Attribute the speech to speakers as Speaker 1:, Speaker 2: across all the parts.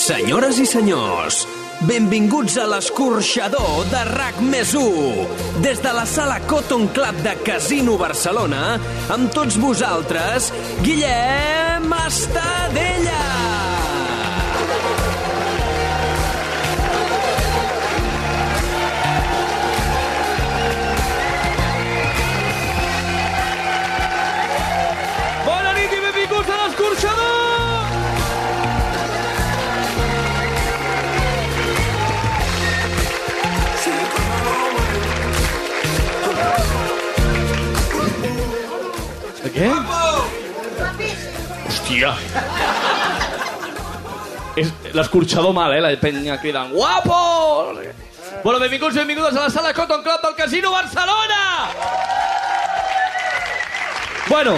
Speaker 1: Senyores i senyors, benvinguts a l'escorxador de RAC més 1. Des de la sala Cotton Club de Casino Barcelona, amb tots vosaltres, Guillem Estadella.
Speaker 2: Bona nit i benvinguts a l'escorxador! De què? Hòstia! És l'escorxador mal, eh? La penya cridant guapo! No sé què. Bueno, benvinguts, benvingudes a la sala Cotton Club del Casino Barcelona! Bueno,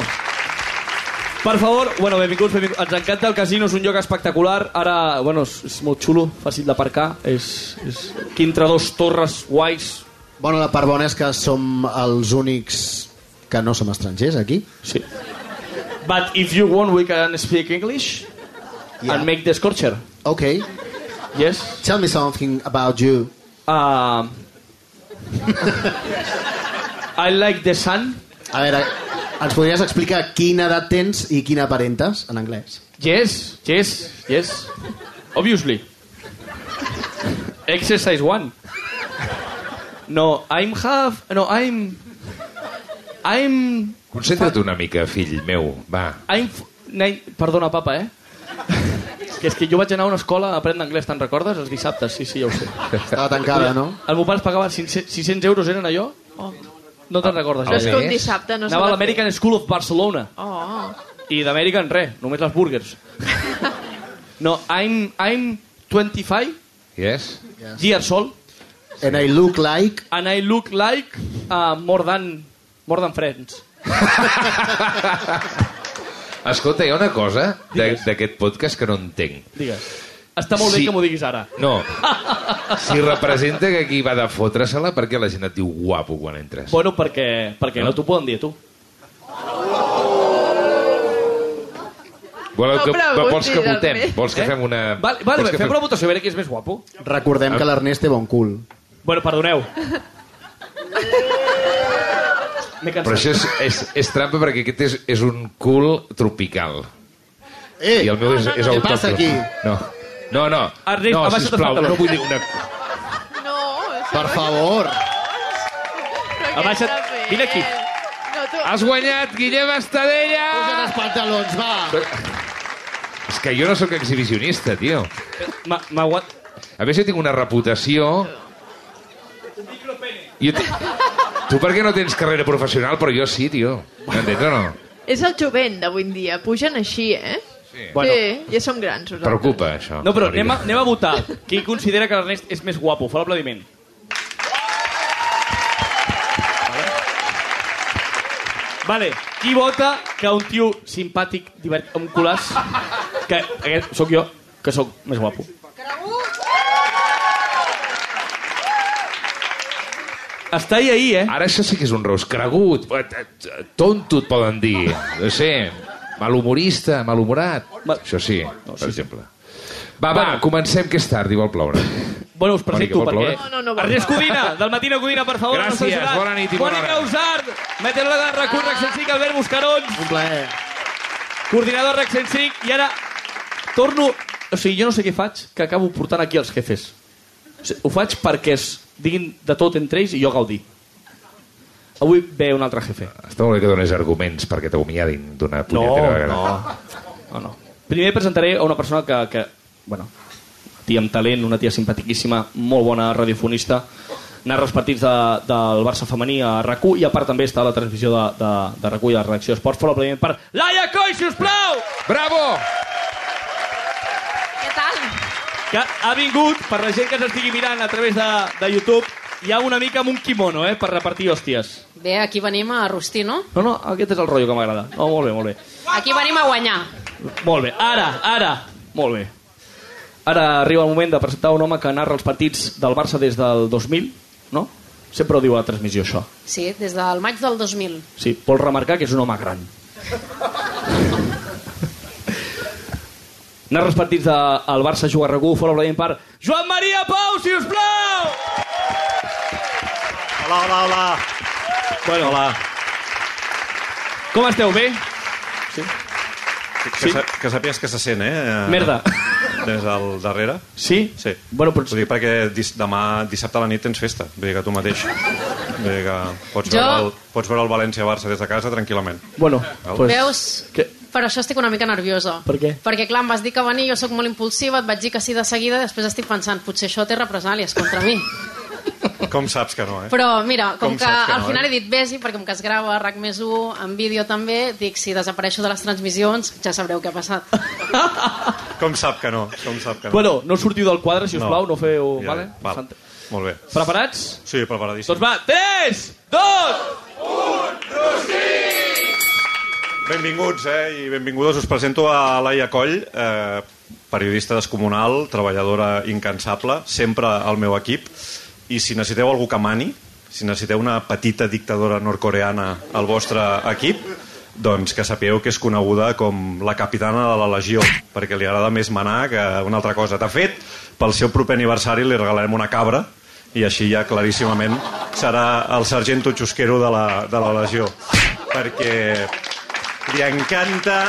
Speaker 2: per favor, bueno, benvinguts, benvinguts. Ens encanta el casino, és un lloc espectacular. Ara, bueno, és, és molt xulo, fàcil d'aparcar. És, és... Aquí entre dos torres guais.
Speaker 3: Bueno, la part bona és que som els únics que no som estrangers aquí.
Speaker 2: Sí. But if you want, we can speak English yeah.
Speaker 3: Yeah.
Speaker 2: and make the scorcher.
Speaker 3: Ok,
Speaker 2: Yes?
Speaker 3: tell me something about you.
Speaker 2: Um I like the sun.
Speaker 3: A veure, ens podries explicar quina edat tens i quina aparentes en anglès?
Speaker 2: Yes, yes, yes. Obviously. Exercise one. No, I'm half. No, I'm. I'm.
Speaker 4: Concentra't una mica, fill meu, va.
Speaker 2: I'm. f- nei- Perdona, papa, eh? Que és que jo vaig anar a una escola a aprendre anglès, te'n recordes? Els dissabtes, sí, sí, ja ho sé.
Speaker 3: Estava tancada, no?
Speaker 2: El meu pare es pagava 500 600 euros, eren allò? Oh. No te'n recordes,
Speaker 4: Però
Speaker 2: ja?
Speaker 4: és
Speaker 5: Ah,
Speaker 2: sé.
Speaker 4: que un
Speaker 5: dissabte no
Speaker 2: Anava a l'American School of Barcelona.
Speaker 5: Oh,
Speaker 2: I d'American, res, només les burgers. No, I'm, I'm 25
Speaker 4: Yes?
Speaker 2: years old
Speaker 3: And I look like...
Speaker 2: and I look like uh, more than more than friends.
Speaker 4: Escolta, hi ha una cosa de- d'aquest podcast que no entenc.
Speaker 2: Digues. Està molt sí.
Speaker 4: Sí.
Speaker 2: bé que m'ho diguis ara.
Speaker 4: No. Si representa que aquí va de fotre-se-la, perquè la gent et diu guapo quan entres.
Speaker 2: Bueno, perquè, perquè no, no t'ho poden dir a tu.
Speaker 4: Voleu que,
Speaker 5: No preguntis,
Speaker 4: vols que
Speaker 5: Ernest.
Speaker 4: votem? Vols que
Speaker 2: Eh?
Speaker 4: fem una...
Speaker 2: Vale, vale,
Speaker 4: vols
Speaker 2: bé,
Speaker 4: que
Speaker 2: fem una votació, a veure qui és més guapo.
Speaker 3: Recordem que l'Ernest té bon cul.
Speaker 2: Bueno, perdoneu. M'he cansat.
Speaker 4: Però això és, és, és trampa perquè aquest és, és un cul tropical.
Speaker 3: Eh,
Speaker 4: I el meu és, és
Speaker 3: què
Speaker 4: autòcton.
Speaker 3: passa aquí?
Speaker 4: No. No, no.
Speaker 2: Ernest,
Speaker 4: no,
Speaker 2: abaixa't els
Speaker 4: sisplau,
Speaker 2: pantalons.
Speaker 4: no vull dir una...
Speaker 5: no,
Speaker 3: Per favor!
Speaker 5: però
Speaker 2: Abaixa't.
Speaker 5: què està fent?
Speaker 2: Vine aquí.
Speaker 5: No, tu...
Speaker 4: Has guanyat, Guillem
Speaker 3: Posa't
Speaker 4: Estadella!
Speaker 3: els pantalons, va!
Speaker 4: És que jo no sóc exhibicionista, tio.
Speaker 2: Ma, ma, what?
Speaker 4: A veure si tinc una reputació... Jo t... Tu per què no tens carrera professional, però jo sí, tio. M'entens o no?
Speaker 5: És el jovent d'avui en dia, pugen així, eh?
Speaker 4: Sí.
Speaker 3: Bueno.
Speaker 5: sí, ja som grans, nosaltres.
Speaker 4: Preocupa, això.
Speaker 2: No, però anem a, anem a votar. Qui considera que l'Ernest és més guapo? Fa l'aplaudiment. Vale. Qui vota que un tio simpàtic, divert, amb culàs, que aquest sóc jo, que sóc més guapo? Està ahí, ahí, eh?
Speaker 4: Ara això sí que és un ros cregut. eh, Tonto et poden dir. No sé, malhumorista, malhumorat.
Speaker 2: Ma-
Speaker 4: Això sí,
Speaker 2: No, sí,
Speaker 4: per
Speaker 2: sí.
Speaker 4: exemple. Va, va,
Speaker 2: Bueno.
Speaker 4: comencem, que és tard eh? i vol ploure.
Speaker 2: Bueno, us presento
Speaker 4: Mònica, vol
Speaker 2: perquè...
Speaker 4: ploure?
Speaker 5: No, no, no, vol
Speaker 2: Ernest Codina, del Matina Codina, per favor.
Speaker 4: Gràcies,
Speaker 2: al nostre jurat.
Speaker 4: bona nit i bona
Speaker 2: Mònica
Speaker 4: hora.
Speaker 2: Usart, meteoròloga de RAC1, RAC105, Albert Buscarons,
Speaker 3: Un plaer.
Speaker 2: coordinador de RAC105, i ara torno... O sigui, jo no sé què faig, que acabo portant aquí els jefes. O sigui, ho faig perquè es diguin de tot entre ells i jo gaudir. Avui ve un altre jefe.
Speaker 4: Està molt bé que dones arguments perquè t'acomiadin d'una punyetera vegada.
Speaker 2: eh? no, no. Primer presentaré a una persona que, que bueno, tia amb talent, una tia simpatiquíssima, molt bona radiofonista, anar als partits de, del Barça femení a rac i a part també està a la transmissió de, de, de rac i de la redacció Esports. Fora l'aplaudiment per Laia Coi, si us plau!
Speaker 4: Bravo!
Speaker 5: Què tal?
Speaker 2: Que ha vingut, per la gent que ens estigui mirant a través de, de YouTube, hi ha una mica amb un kimono, eh, per repartir hòsties.
Speaker 6: Bé, aquí venim a rostir, no?
Speaker 2: No, no, aquest és el rotllo que m'agrada. No, molt bé, molt bé.
Speaker 6: Aquí venim a guanyar.
Speaker 2: Molt bé, ara, ara, molt bé. Ara arriba el moment de presentar un home que narra els partits del Barça des del 2000, no? Sempre ho diu a la transmissió, això.
Speaker 6: Sí, des del maig del 2000.
Speaker 2: Sí, vol remarcar que és un home gran. anar repartits de, el Barça juga a RAC1, fora Brahim per Joan Maria Pau, si us plau!
Speaker 7: Hola, hola, hola.
Speaker 2: Bueno, hola. Com esteu, bé?
Speaker 7: Que,
Speaker 2: Sí.
Speaker 7: que, sa- que sàpigues que se sent, eh?
Speaker 2: Ah. Merda.
Speaker 7: Des del darrere.
Speaker 2: Sí?
Speaker 7: Sí.
Speaker 2: Bueno, però...
Speaker 7: Ho dic perquè dis demà, dissabte a la nit, tens festa. Vull dir que tu mateix. Vull dir que pots,
Speaker 6: Jo-
Speaker 7: veure el, pots veure el València-Barça des de casa tranquil·lament.
Speaker 2: Bueno, pues...
Speaker 6: Veus?
Speaker 2: Que...
Speaker 6: Per això estic una mica nerviosa.
Speaker 2: Per què?
Speaker 6: Perquè, clar, em vas dir que venir, jo sóc molt impulsiva, et vaig dir que sí de seguida, després estic pensant, potser això té represàlies contra mi.
Speaker 7: Com saps que no, eh?
Speaker 6: Però, mira, com,
Speaker 7: Com
Speaker 6: que,
Speaker 7: saps que
Speaker 6: al
Speaker 7: no,
Speaker 6: final
Speaker 7: eh?
Speaker 6: he dit vés perquè com que es grava RAC més 1, en vídeo també, dic, si desapareixo de les transmissions, ja sabreu què ha passat.
Speaker 7: Com sap que no? Com sap que no?
Speaker 2: Bueno, no sortiu del quadre, si us plau, no feu...
Speaker 7: Ja,
Speaker 2: vale?
Speaker 7: Val. Molt bé.
Speaker 2: Preparats?
Speaker 7: Sí, preparadíssim.
Speaker 2: Doncs va, 3, 2...
Speaker 7: Benvinguts eh, i benvingudes. Us presento a Laia Coll, eh, periodista descomunal, treballadora incansable, sempre al meu equip. I si necessiteu algú que mani, si necessiteu una petita dictadora nord-coreana al vostre equip, doncs que sapigueu que és coneguda com la capitana de la legió, perquè li agrada més manar que una altra cosa. De fet, pel seu proper aniversari li regalarem una cabra i així ja claríssimament serà el sargento xusquero de la, de la legió. Perquè li encanta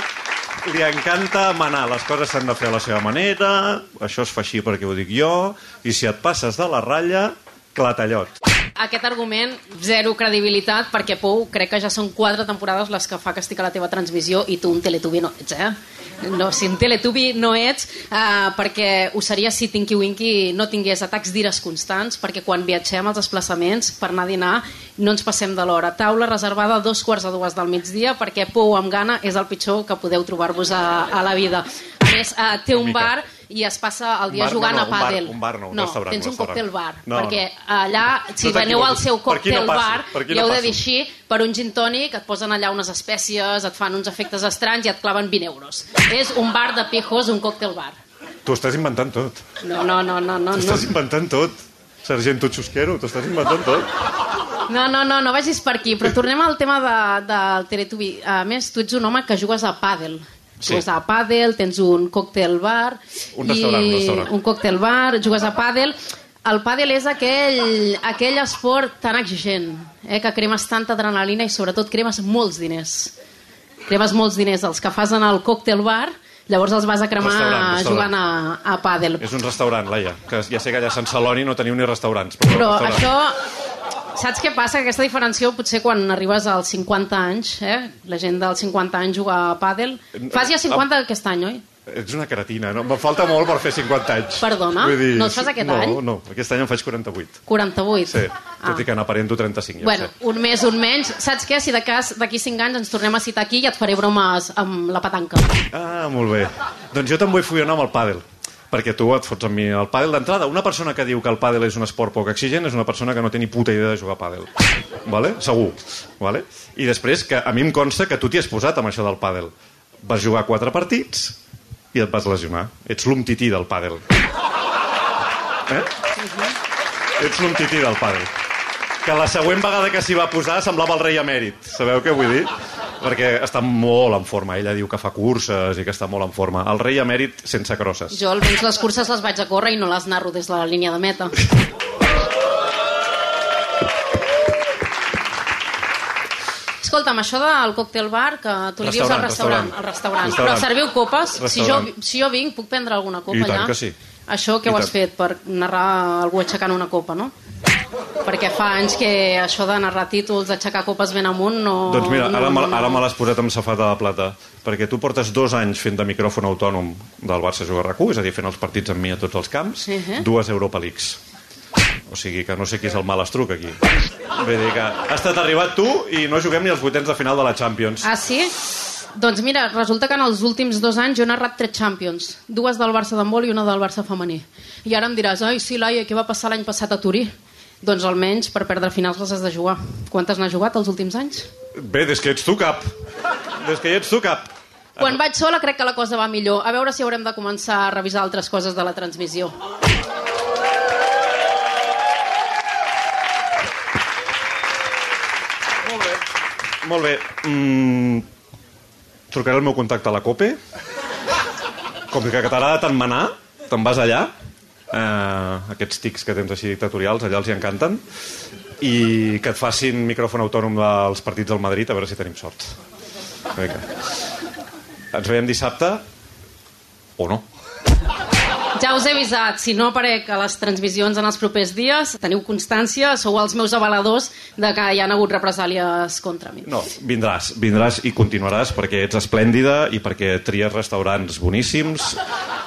Speaker 7: li encanta manar, les coses s'han de fer a la seva manera, això es fa així perquè ho dic jo, i si et passes de la ratlla, clatallot.
Speaker 6: Aquest argument, zero credibilitat, perquè Pou, crec que ja són quatre temporades les que fa que estic a la teva transmissió i tu un teletubi no ets, eh? No, si un teletubi no ets, eh, perquè ho seria si Tinky Winky no tingués atacs d'ires constants, perquè quan viatgem als desplaçaments per anar a dinar no ens passem de l'hora. Taula reservada a dos quarts de dues del migdia, perquè Pou amb gana és el pitjor que podeu trobar-vos a, a la vida. A més, eh, té un
Speaker 7: mica.
Speaker 6: bar i es passa el dia
Speaker 7: bar no,
Speaker 6: jugant
Speaker 7: no,
Speaker 6: a
Speaker 7: un bar-
Speaker 6: pàdel.
Speaker 7: un bar no, un restaurant,
Speaker 6: tens
Speaker 7: un
Speaker 6: un
Speaker 7: restaurant.
Speaker 6: còctel bar,
Speaker 7: No, no.
Speaker 6: perquè allà si
Speaker 7: No
Speaker 6: veniu al
Speaker 7: t'equivoquis.
Speaker 6: seu
Speaker 7: Tota Per aquí no
Speaker 6: còctel
Speaker 7: passis,
Speaker 6: bar,
Speaker 7: per aquí
Speaker 6: ja
Speaker 7: no
Speaker 6: heu de
Speaker 7: passis.
Speaker 6: dir així, per un gin tònic et posen allà unes espècies, et fan uns efectes estranys i et claven 20 euros. És un bar de pijos, un còctel bar.
Speaker 7: Tu estàs inventant tot.
Speaker 6: No, no, no, no, no.
Speaker 7: Tu
Speaker 6: No,
Speaker 7: estàs inventant tot. Sargento Xusquero, tu estàs inventant tot.
Speaker 6: no, no, no, no vagis per aquí. Però tornem al tema de, del Teletubi. A més, tu ets un home que jugues a pàdel.
Speaker 7: Sí.
Speaker 6: Jugues a pàdel, tens un còctel bar...
Speaker 7: Un restaurant,
Speaker 6: i...
Speaker 7: un restaurant.
Speaker 6: Un còctel bar, jugues a pàdel... El pàdel és aquell, aquell esport tan exigent, eh, que cremes tanta adrenalina i sobretot cremes molts diners. cremes molts diners els que fas en el còctel bar, llavors els vas a cremar
Speaker 7: Restaurant, restaurant.
Speaker 6: jugant a, a pàdel.
Speaker 7: És un restaurant, Laia, que ja sé que allà a Sant Celoni no teniu ni restaurants. Però,
Speaker 6: Però
Speaker 7: restaurant.
Speaker 6: això... Saps què passa? Que aquesta diferència potser quan arribes als 50 anys, eh? la gent dels 50 anys juga a pàdel. Fas ja 50 aquest any, oi?
Speaker 7: Ets una cretina, no? Em falta molt per fer 50 anys.
Speaker 6: Perdona? No et fas aquest
Speaker 7: no,
Speaker 6: any?
Speaker 7: No, aquest any em faig 48.
Speaker 6: 48.
Speaker 7: Sí, ah. tot i que n'aparento 35, ja
Speaker 6: Bueno,
Speaker 7: ho sé.
Speaker 6: un més, un menys. Saps què? Si de cas d'aquí 5 anys ens tornem a citar aquí i et faré bromes amb la petanca.
Speaker 7: Ah, molt bé. Doncs jo també vull follonar amb el pàdel, perquè tu et fots amb mi al pàdel d'entrada. Una persona que diu que el pàdel és un esport poc exigent és una persona que no té ni puta idea de jugar a pàdel. Vale? Segur. Vale? I després, que a mi em consta que tu t'hi has posat amb això del pàdel. Vas jugar quatre partits i et vas lesionar. Ets l'umtití del pàdel. Eh? Ets l'umtití del pàdel. Que la següent vegada que s'hi va posar semblava el rei emèrit. Sabeu què vull dir? Perquè està molt en forma. Ella diu que fa curses i que està molt en forma. El rei emèrit sense crosses.
Speaker 6: Jo almenys les curses les vaig a córrer i no les narro des de la línia de meta. Escolta'm, això del còctel bar, que tu li dius al restaurant,
Speaker 7: Restaurant, restaurant.
Speaker 6: al restaurant.
Speaker 7: Restaurant.
Speaker 6: però serviu copes? Si jo,
Speaker 7: Restaurant.
Speaker 6: si jo vinc, puc prendre alguna copa
Speaker 7: I tant
Speaker 6: allà?
Speaker 7: que sí.
Speaker 6: Això que
Speaker 7: I
Speaker 6: ho has
Speaker 7: tant.
Speaker 6: fet, per narrar algú aixecant una copa, no? Perquè fa anys que això de narrar títols, d'aixecar copes ben amunt, no...
Speaker 7: Doncs mira,
Speaker 6: no,
Speaker 7: ara, me,
Speaker 6: no, no.
Speaker 7: ara me l'has posat amb safata de plata, perquè tu portes dos anys fent de micròfon autònom del Barça Jugar RAC1, és a dir, fent els partits amb mi a tots els camps, uh
Speaker 6: Mhm.
Speaker 7: -huh. dues Europa Leagues. O sigui que no sé qui és el mal estruc aquí. Vull dir que has estat arribat tu i no juguem ni als vuitens de final de la Champions.
Speaker 6: Ah, sí? Doncs mira, resulta que en els últims dos anys jo he narrat tres Champions. Dues del Barça d'handbol i una del Barça femení. I ara em diràs, ai, sí, Laia, què va passar l'any passat a Turí? Doncs almenys per perdre finals les has de jugar. Quantes n'has jugat els últims anys?
Speaker 7: Bé, des que ets tu cap. Des que hi ets tu cap.
Speaker 6: Quan vaig sola crec que la cosa va millor. A veure si haurem de començar a revisar altres coses de la transmissió.
Speaker 7: Molt bé. Mm, trucaré el meu contacte a la COPE Com que t'agrada tant manar, te'n vas allà, eh, aquests tics que tens així dictatorials, allà els hi encanten, i que et facin micròfon autònom dels partits del Madrid, a veure si tenim sort. Una mica. Ens veiem dissabte, o no.
Speaker 6: Ja us he avisat, si no aparec a les transmissions en els propers dies, teniu constància, sou els meus avaladors de que hi ha hagut represàlies contra mi.
Speaker 7: No, vindràs, vindràs i continuaràs perquè ets esplèndida i perquè tries restaurants boníssims.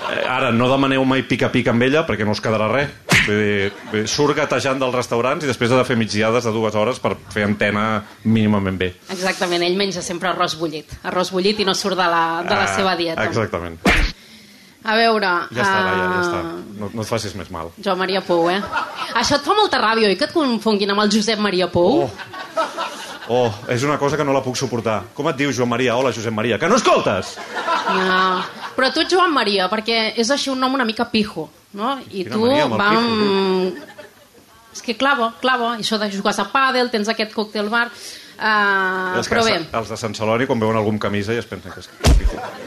Speaker 7: Eh, Ara, no demaneu mai pica-pica amb ella perquè no us quedarà res. Vull dir, vull dir, surt gatejant dels restaurants i després ha de fer migdiades de dues hores per fer antena mínimament bé.
Speaker 6: Exactament, ell menja sempre arròs bullit. Arròs bullit i no surt de la, de la
Speaker 7: Ah,
Speaker 6: seva dieta.
Speaker 7: Exactament.
Speaker 6: A veure...
Speaker 7: Ja està, Laia, ja
Speaker 6: ah,
Speaker 7: està. No, no et facis més mal.
Speaker 6: Joan Maria Pou, eh? Això et fa molta ràbia, oi, que et confonguin amb el Josep Maria Pou?
Speaker 7: Oh. Oh, és una cosa que no la puc suportar. Com et dius, Joan Maria? Hola, Josep Maria. Que no escoltes!
Speaker 6: No. Però tu ets Joan Maria, perquè és així un nom una mica pijo, no? I
Speaker 7: Quina
Speaker 6: tu
Speaker 7: mania amb el
Speaker 6: vam... És que clava, clava, I això de jugar a pàdel, tens aquest còctel bar... Uh,
Speaker 7: Els que
Speaker 6: però bé,
Speaker 7: sa- Els de Sant Celoni, quan veuen algú amb camisa, ja es pensen que és...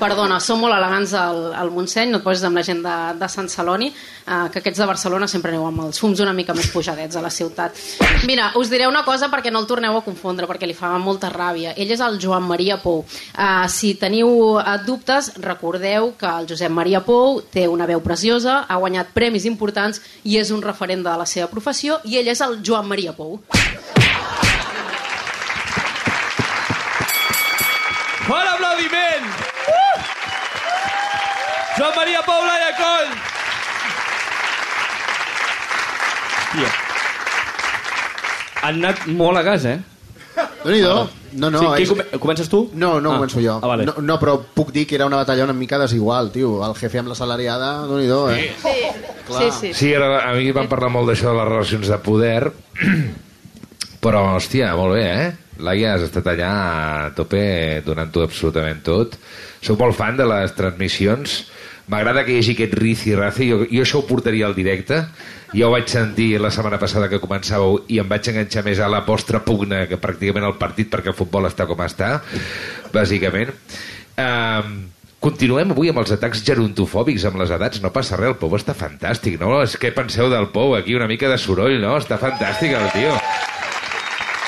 Speaker 6: perdona, som molt elegants al, al Montseny, no et posis amb la gent de, de Sant Celoni, uh, que aquests de Barcelona sempre aneu amb els fums una mica més pujadets a la ciutat. Mira, us diré una cosa perquè no el torneu a confondre, perquè li fa molta ràbia. Ell és el Joan Maria Pou. Uh, si teniu uh, dubtes, recordeu que el Josep Maria Pou té una veu preciosa, ha guanyat premis importants i és un referent de la seva professió, i ell és el Joan Maria Pou.
Speaker 2: Fort aplaudiment! Uh! Joan Maria Paula i Acoll! Hòstia. Han anat molt a gas, eh?
Speaker 3: déu nhi No, no,
Speaker 2: sí, qui
Speaker 3: és...
Speaker 2: come- Comences tu?
Speaker 3: No,
Speaker 2: ah.
Speaker 3: no ah, començo jo.
Speaker 2: Ah, vale.
Speaker 3: no, no, però puc dir que era una batalla una mica desigual, tio. El jefe amb la salariada, déu nhi eh?
Speaker 5: Sí,
Speaker 3: Clar.
Speaker 5: sí, sí.
Speaker 4: Sí, ara, a mi van parlar molt d'això de les relacions de poder, però, hòstia, molt bé, eh? Laia, has estat allà a tope donant-ho absolutament tot. Soc molt fan de les transmissions. M'agrada que hi hagi aquest rici-raci. Jo, jo això ho portaria al directe. Ja ho vaig sentir la setmana passada que començàveu i em vaig enganxar més a la vostra pugna que pràcticament al partit perquè el futbol està com està, bàsicament. Um, Continuem avui amb els atacs gerontofòbics amb les edats. No passa res, el Pou està fantàstic, no? És que penseu del Pou aquí, una mica de soroll, no? Està fantàstic el tio.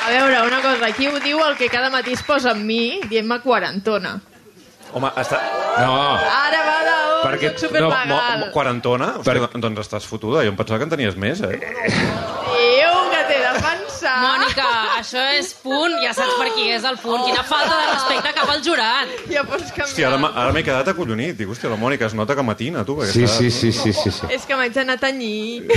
Speaker 5: A veure, una cosa, aquí ho diu el que cada matí es posa amb mi dient-me quarantona.
Speaker 7: Home, està...
Speaker 4: Ah, No,
Speaker 5: Ara va de... Oh,
Speaker 4: Perquè-
Speaker 5: Perquè... Soc superlegal.
Speaker 7: Mo,
Speaker 5: No,
Speaker 7: quarantona?
Speaker 4: Per-
Speaker 7: Hòstia, doncs estàs fotuda. Jo em pensava que en tenies més, eh?
Speaker 5: Diu que t'he de pensar.
Speaker 6: Mònica, això és punt, ja saps per qui és el punt. Quina falta de respecte cap al jurat.
Speaker 5: Ja pots canviar.
Speaker 7: Hòstia, ara, m'ha- ara m'he quedat acollonit. Dic, hòstia, la Mònica es nota que matina, tu. perquè
Speaker 4: Sí,
Speaker 7: està-
Speaker 4: sí, sí, sí, sí, sí.
Speaker 5: És que m'haig d'anar a tenyir.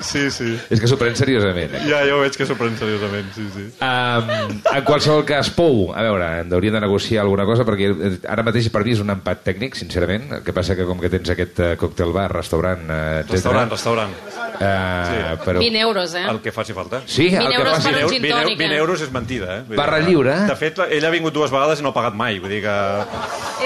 Speaker 7: Sí, sí.
Speaker 4: És que s'ho pren seriosament, eh?
Speaker 7: Ja, ja ho veig que s'ho pren seriosament, sí, sí.
Speaker 4: Um, en qualsevol cas, Pou, a veure, en hauríem de negociar alguna cosa, perquè eh, ara mateix per mi és un empat tècnic, sincerament. El que passa que com que tens aquest uh, còctel bar, restaurant, uh, etc...
Speaker 7: Restaurant, restaurant.
Speaker 4: Uh, però...
Speaker 6: 20 euros, eh?
Speaker 7: El que faci falta.
Speaker 4: Sí, el
Speaker 6: 20
Speaker 4: que
Speaker 6: euros
Speaker 4: passi.
Speaker 6: per un
Speaker 7: Eu-
Speaker 6: gin
Speaker 7: 20, eu-
Speaker 6: tònica.
Speaker 7: 20 euros és mentida, eh? Vull dir,
Speaker 4: Barra lliure.
Speaker 7: De fet, la- ella ha vingut dues vegades i no ha pagat mai. Vull dir que...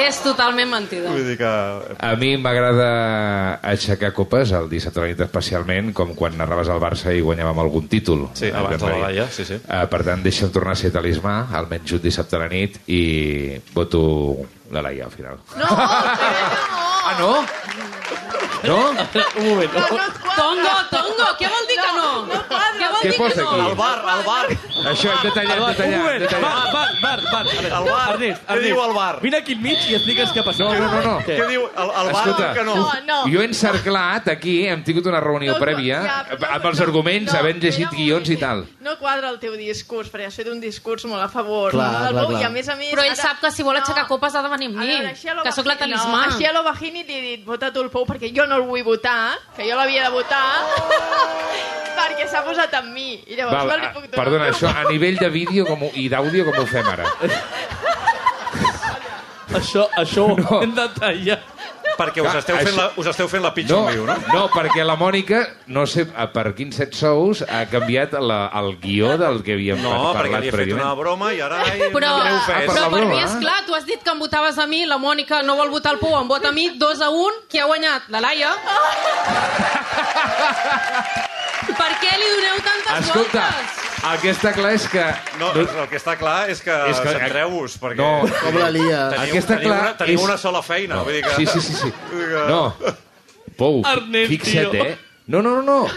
Speaker 6: És totalment mentida.
Speaker 7: Vull dir que...
Speaker 4: A mi m'agrada aixecar copes el dissabte a la nit especialment, com quan narraves al Barça i guanyàvem algun títol.
Speaker 7: Sí, abans de la Laia, sí, sí.
Speaker 4: Uh, per tant, deixa'm tornar a ser talismà, almenys un dissabte a la nit, i voto la Laia al final.
Speaker 5: No,
Speaker 4: Ah, no? No?
Speaker 2: Un moment.
Speaker 5: no, no et quadra.
Speaker 6: Tongo, tongo, què vol dir que no?
Speaker 5: no quadra.
Speaker 6: Què vol
Speaker 4: Què
Speaker 6: dir que
Speaker 4: posa
Speaker 6: no?
Speaker 4: aquí?
Speaker 7: bar, el bar!
Speaker 4: Això, hem detallat, hem
Speaker 2: Un
Speaker 4: detallat.
Speaker 2: moment.
Speaker 4: detallat.
Speaker 2: Bar, bar, bar, bar. A veure,
Speaker 7: El bar.
Speaker 2: Ernest,
Speaker 7: Què diu el bar?
Speaker 2: Vine aquí enmig i explica'ns què ha passat.
Speaker 4: No, no, no, no.
Speaker 2: Què?
Speaker 7: Què diu? El, el bar
Speaker 4: Escolta.
Speaker 7: diu que no.
Speaker 5: No, no.
Speaker 4: Jo he encerclat aquí, hem tingut una reunió
Speaker 5: No,
Speaker 4: prèvia,
Speaker 5: ja, no,
Speaker 4: amb els
Speaker 5: no,
Speaker 4: arguments,
Speaker 5: no,
Speaker 4: havent llegit
Speaker 5: espera un
Speaker 4: guions i
Speaker 5: moment.
Speaker 4: tal.
Speaker 5: No quadra el teu discurs, perquè has fet un discurs molt a favor.
Speaker 3: Clar,
Speaker 5: no, del
Speaker 3: clar,
Speaker 5: Bou,
Speaker 3: clar.
Speaker 5: I a més a més...
Speaker 6: Però ell
Speaker 5: ara-
Speaker 6: sap que si vol aixecar copes ha de venir amb
Speaker 5: A
Speaker 6: mi,
Speaker 5: veure, així a lo
Speaker 6: que sóc la
Speaker 5: Bajini,
Speaker 6: talismà.
Speaker 5: No, així a lo Bajini li he dit, vota tu el Pou, perquè jo no el vull votar, que jo l'havia de votar,
Speaker 3: Oh!
Speaker 5: perquè s'ha posat amb mi. I llavors
Speaker 4: Val,
Speaker 5: no li puc
Speaker 4: a-
Speaker 5: donar...
Speaker 4: perdona,
Speaker 5: el meu
Speaker 4: això a nivell de vídeo com ho, i d'àudio com ho fem ara?
Speaker 2: Això, això ho
Speaker 4: No.
Speaker 2: hem de tallar.
Speaker 7: Perquè us
Speaker 4: Clar,
Speaker 7: esteu fent
Speaker 4: això-
Speaker 7: la, us esteu fent la pitjor
Speaker 4: No,
Speaker 7: viu, no?
Speaker 4: no, perquè la Mònica, no sé a per quins set sous, ha canviat la, el guió del que havíem
Speaker 7: No,
Speaker 4: par-
Speaker 7: perquè
Speaker 4: parlat
Speaker 7: li he fet una
Speaker 4: prèviament.
Speaker 7: broma i ara... Ai,
Speaker 6: Però,
Speaker 7: m'heu ofès.
Speaker 4: per
Speaker 6: però
Speaker 4: la
Speaker 6: per mi
Speaker 4: broma,
Speaker 6: és
Speaker 4: eh?
Speaker 6: clar, tu has dit que em votaves a mi, la Mònica no vol votar el Pou, em vota a mi, 2 a 1, qui ha guanyat? La Laia? Per què li doneu tantes
Speaker 4: Escolta,
Speaker 6: voltes?
Speaker 4: El que està clar és que...
Speaker 7: No, el que està clar és que,
Speaker 4: És
Speaker 7: és
Speaker 4: que-
Speaker 7: que... centreu-vos, perquè...
Speaker 4: No.
Speaker 3: Com la lia.
Speaker 7: Teniu,
Speaker 4: El que està
Speaker 7: teniu,
Speaker 4: clar
Speaker 7: una, teniu
Speaker 4: és-
Speaker 7: una sola feina. No. Vull dir que...
Speaker 4: Sí, sí, sí. sí.
Speaker 7: Vull dir que-
Speaker 4: No. Pou,
Speaker 2: Ernest,
Speaker 4: fixa't,
Speaker 2: tio.
Speaker 4: eh? No, no, no, no.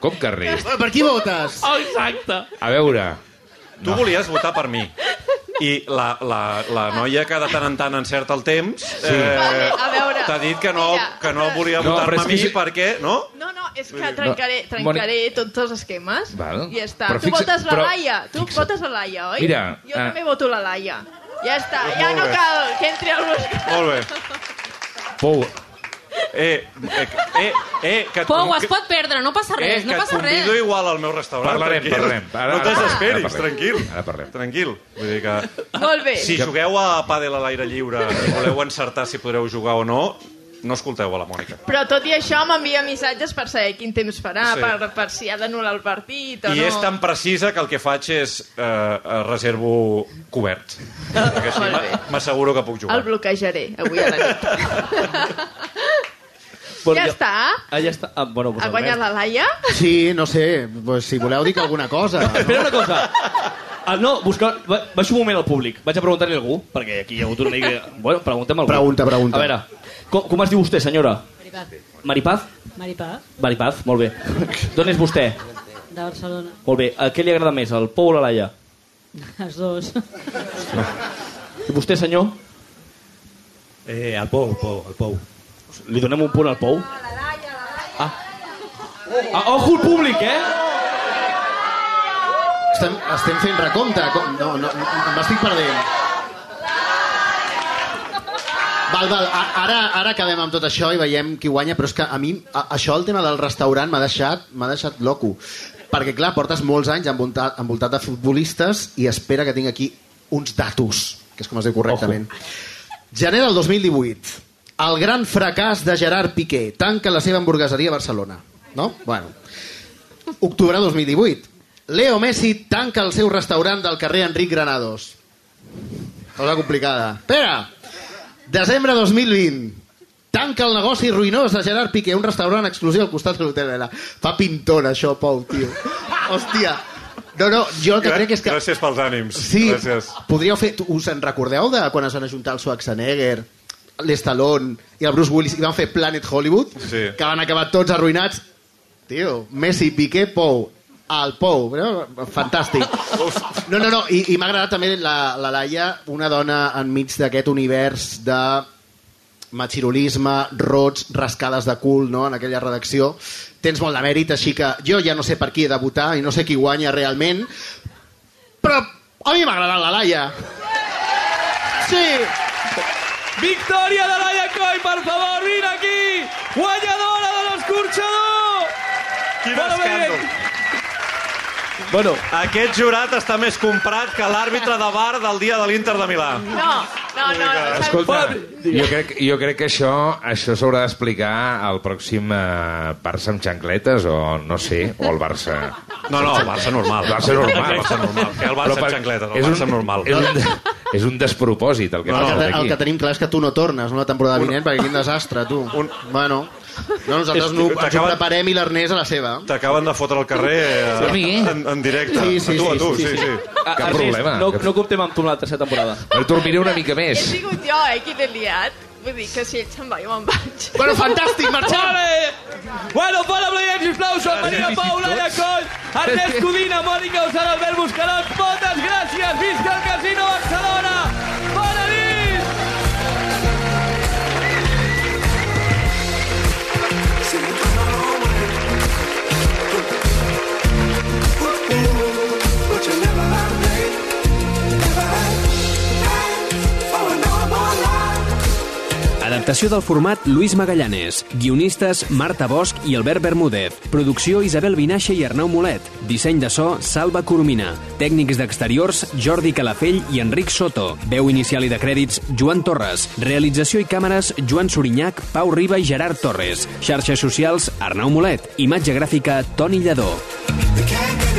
Speaker 4: Com que res?
Speaker 3: Per qui votes?
Speaker 2: Oh, exacte.
Speaker 4: A veure,
Speaker 7: Tu volies votar per mi. I la, la, la noia que de tant en tant encerta el temps sí.
Speaker 5: Vale, a veure,
Speaker 7: t'ha dit que no,
Speaker 5: mira,
Speaker 7: que no volia
Speaker 4: No,
Speaker 7: votar-me
Speaker 4: però és
Speaker 7: a
Speaker 4: que
Speaker 7: mi
Speaker 4: si-
Speaker 7: perquè... No?
Speaker 5: No, no, és que trencaré,
Speaker 4: No,
Speaker 5: trencaré tots els esquemes
Speaker 4: Val.
Speaker 5: i ja està.
Speaker 4: Però
Speaker 5: tu
Speaker 4: fixa-
Speaker 5: votes la
Speaker 4: però-
Speaker 5: Laia, tu
Speaker 4: fixa-
Speaker 5: votes la Laia, oi?
Speaker 4: Mira, Oh,
Speaker 5: jo
Speaker 4: ah.
Speaker 5: també voto la Laia. Ja està, ja
Speaker 7: Molt
Speaker 5: no
Speaker 7: bé.
Speaker 5: cal que entri al buscar.
Speaker 7: Molt bé.
Speaker 4: Pou,
Speaker 7: Eh, eh, eh, eh que et
Speaker 6: Pou,
Speaker 7: con-
Speaker 6: es pot perdre, no passa
Speaker 7: eh,
Speaker 6: res,
Speaker 7: que
Speaker 6: no
Speaker 7: et
Speaker 6: passa res.
Speaker 7: convido igual al meu restaurant.
Speaker 4: Parlarem,
Speaker 7: tranquil.
Speaker 4: parlarem. Ara-
Speaker 7: no
Speaker 4: ara
Speaker 7: t'esperis,
Speaker 4: parlem.
Speaker 7: tranquil.
Speaker 4: Ara parlem.
Speaker 7: Tranquil. Vull dir que...
Speaker 5: Molt bé.
Speaker 7: Si jugueu a pàdel a l'aire lliure i voleu encertar si podreu jugar o no, no escolteu a la Mònica.
Speaker 5: Però tot i això m'envia missatges per saber quin temps farà,
Speaker 7: Sí.
Speaker 5: sí. per, per si ha d'anul·lar el partit o
Speaker 7: I
Speaker 5: Doncs no.
Speaker 7: és tan precisa que el que faig és eh, eh, reservo cobert. Perquè així
Speaker 5: Molt bé.
Speaker 7: m'a- m'asseguro que puc jugar.
Speaker 5: El bloquejaré avui a la nit. ja està.
Speaker 2: Ah, ja està. Ah, bueno, pues
Speaker 5: Ha guanyat la Laia?
Speaker 3: Sí, no sé, pues, si voleu dic alguna cosa.
Speaker 2: Espera una cosa. Ah, no, busca... ba- Baixo un moment al públic. Vaig a preguntar-li a algú, perquè aquí hi ha hagut una mica... Bueno, preguntem a algú.
Speaker 3: Pregunta, pregunta.
Speaker 2: A veure, com, com es diu vostè, senyora?
Speaker 8: Maripaz.
Speaker 2: Maripaz?
Speaker 8: Maripaz,
Speaker 2: Maripaz, molt bé. D'on és vostè?
Speaker 8: de Barcelona.
Speaker 2: Molt bé. A què li agrada més, el Pou o la Laia?
Speaker 8: Els dos.
Speaker 2: I vostè, senyor?
Speaker 9: Eh, el Pou, el Pou, el Pou.
Speaker 2: Li donem un punt al Pou? Ah. ah ojo al públic, eh?
Speaker 3: Estem, estem fent recompte. Com? No, no, em estic perdent. Val, val, a- ara, ara acabem amb tot això i veiem qui guanya, però és que a mi a, això, el tema del restaurant, m'ha deixat, m'ha deixat loco. Perquè, clar, portes molts anys envoltat, envoltat de futbolistes i espera que tinc aquí uns datus, que és com es diu correctament. Gener del 2018. El gran fracàs de Gerard Piqué. Tanca la seva hamburgueseria a Barcelona. No? Bueno. Octubre 2018. Leo Messi tanca el seu restaurant del carrer Enric Granados. Cosa complicada. Pere! Desembre 2020. Tanca el negoci ruïnós de Gerard Piqué, un restaurant exclusiu al costat de l'hotel Vela. Fa pintor, això, Pau, tio. Hòstia. No, no, jo el que crec és que...
Speaker 7: Gràcies pels ànims.
Speaker 3: Sí,
Speaker 7: Gràcies.
Speaker 3: podríeu fer... tu- Us en recordeu de quan es van ajuntar el Schwarzenegger, l'Estalón i el Bruce Willis i van fer Planet Hollywood?
Speaker 7: Sí.
Speaker 3: Que van acabar tots arruïnats. Tio, Messi, Piqué, Pou. El Pou. No? Fantàstic. No, no, no. I, i m'ha agradat també la, la Laia, una dona enmig d'aquest univers de machirulisme, rots, rascades de cul, no?, en aquella redacció. Tens molt de mèrit, així que jo ja no sé per qui he de votar i no sé qui guanya realment, però a mi m'ha agradat la Laia. Sí,
Speaker 2: Victòria de Laia Coll, per favor, vine aquí! Guanyadora de l'escorxador!
Speaker 7: Quin
Speaker 2: Bona
Speaker 7: escàndol.
Speaker 2: Bueno,
Speaker 7: Aquest jurat està més comprat que l'àrbitre de bar del dia de l'Inter de Milà.
Speaker 5: No, no, Oh, no. no, no
Speaker 4: escolta,
Speaker 2: Fabri-
Speaker 4: jo crec, jo crec que això això s'haurà d'explicar al pròxim eh, Barça amb xancletes o no sé, o el Barça...
Speaker 7: No, no, el Barça normal.
Speaker 4: El Barça normal.
Speaker 7: El Barça normal. Que el Barça
Speaker 4: Però per-
Speaker 7: amb xancletes,
Speaker 4: és
Speaker 7: el
Speaker 4: un-
Speaker 7: Barça normal.
Speaker 4: És un, és un despropòsit el que
Speaker 7: No,
Speaker 4: no,
Speaker 3: el, que,
Speaker 4: passa
Speaker 3: el que
Speaker 4: aquí.
Speaker 3: tenim clar és que tu no tornes no, la temporada vinent, perquè quin desastre, tu.
Speaker 7: Un-
Speaker 3: Bueno, no, nosaltres
Speaker 7: És-
Speaker 3: no, ens ho
Speaker 7: t'acaben-
Speaker 3: preparem i l'Ernest a la seva.
Speaker 7: T'acaben de fotre al carrer eh, en, en directe.
Speaker 3: Sí, sí, sí,
Speaker 7: a tu, a tu,
Speaker 3: sí,
Speaker 7: sí,
Speaker 3: sí,
Speaker 7: sí.
Speaker 2: a-
Speaker 4: Cap
Speaker 2: Ernest,
Speaker 4: problema.
Speaker 2: No, no comptem amb tu la tercera temporada.
Speaker 4: Però dormiré una mica
Speaker 5: He
Speaker 4: més.
Speaker 5: sigut jo, eh, qui l'he liat. Vull dir que si ell se'n va, jo me'n vaig.
Speaker 3: Bueno, fantàstic, marxem!
Speaker 2: Vale! Bueno, fora aplaudiment, sisplau, Joan Maria Pau, Laia Coll, Ernest Codina, Mònica Usant, Albert Buscarot, moltes gràcies, visca el Casino Barcelona! Bona nit!
Speaker 10: oh,
Speaker 1: Adaptació del format Luis Magallanes. Guionistes Marta Bosch i Albert Bermúdez. Producció Isabel Vinaixa i Arnau Molet. Disseny de so Salva Coromina. Tècnics d'exteriors Jordi Calafell i Enric Soto. Veu inicial i de crèdits Joan Torres. Realització i càmeres Joan Sorinyac, Pau Riba i Gerard Torres. Xarxes socials Arnau Molet. Imatge gràfica Toni Lladó.
Speaker 10: We can't get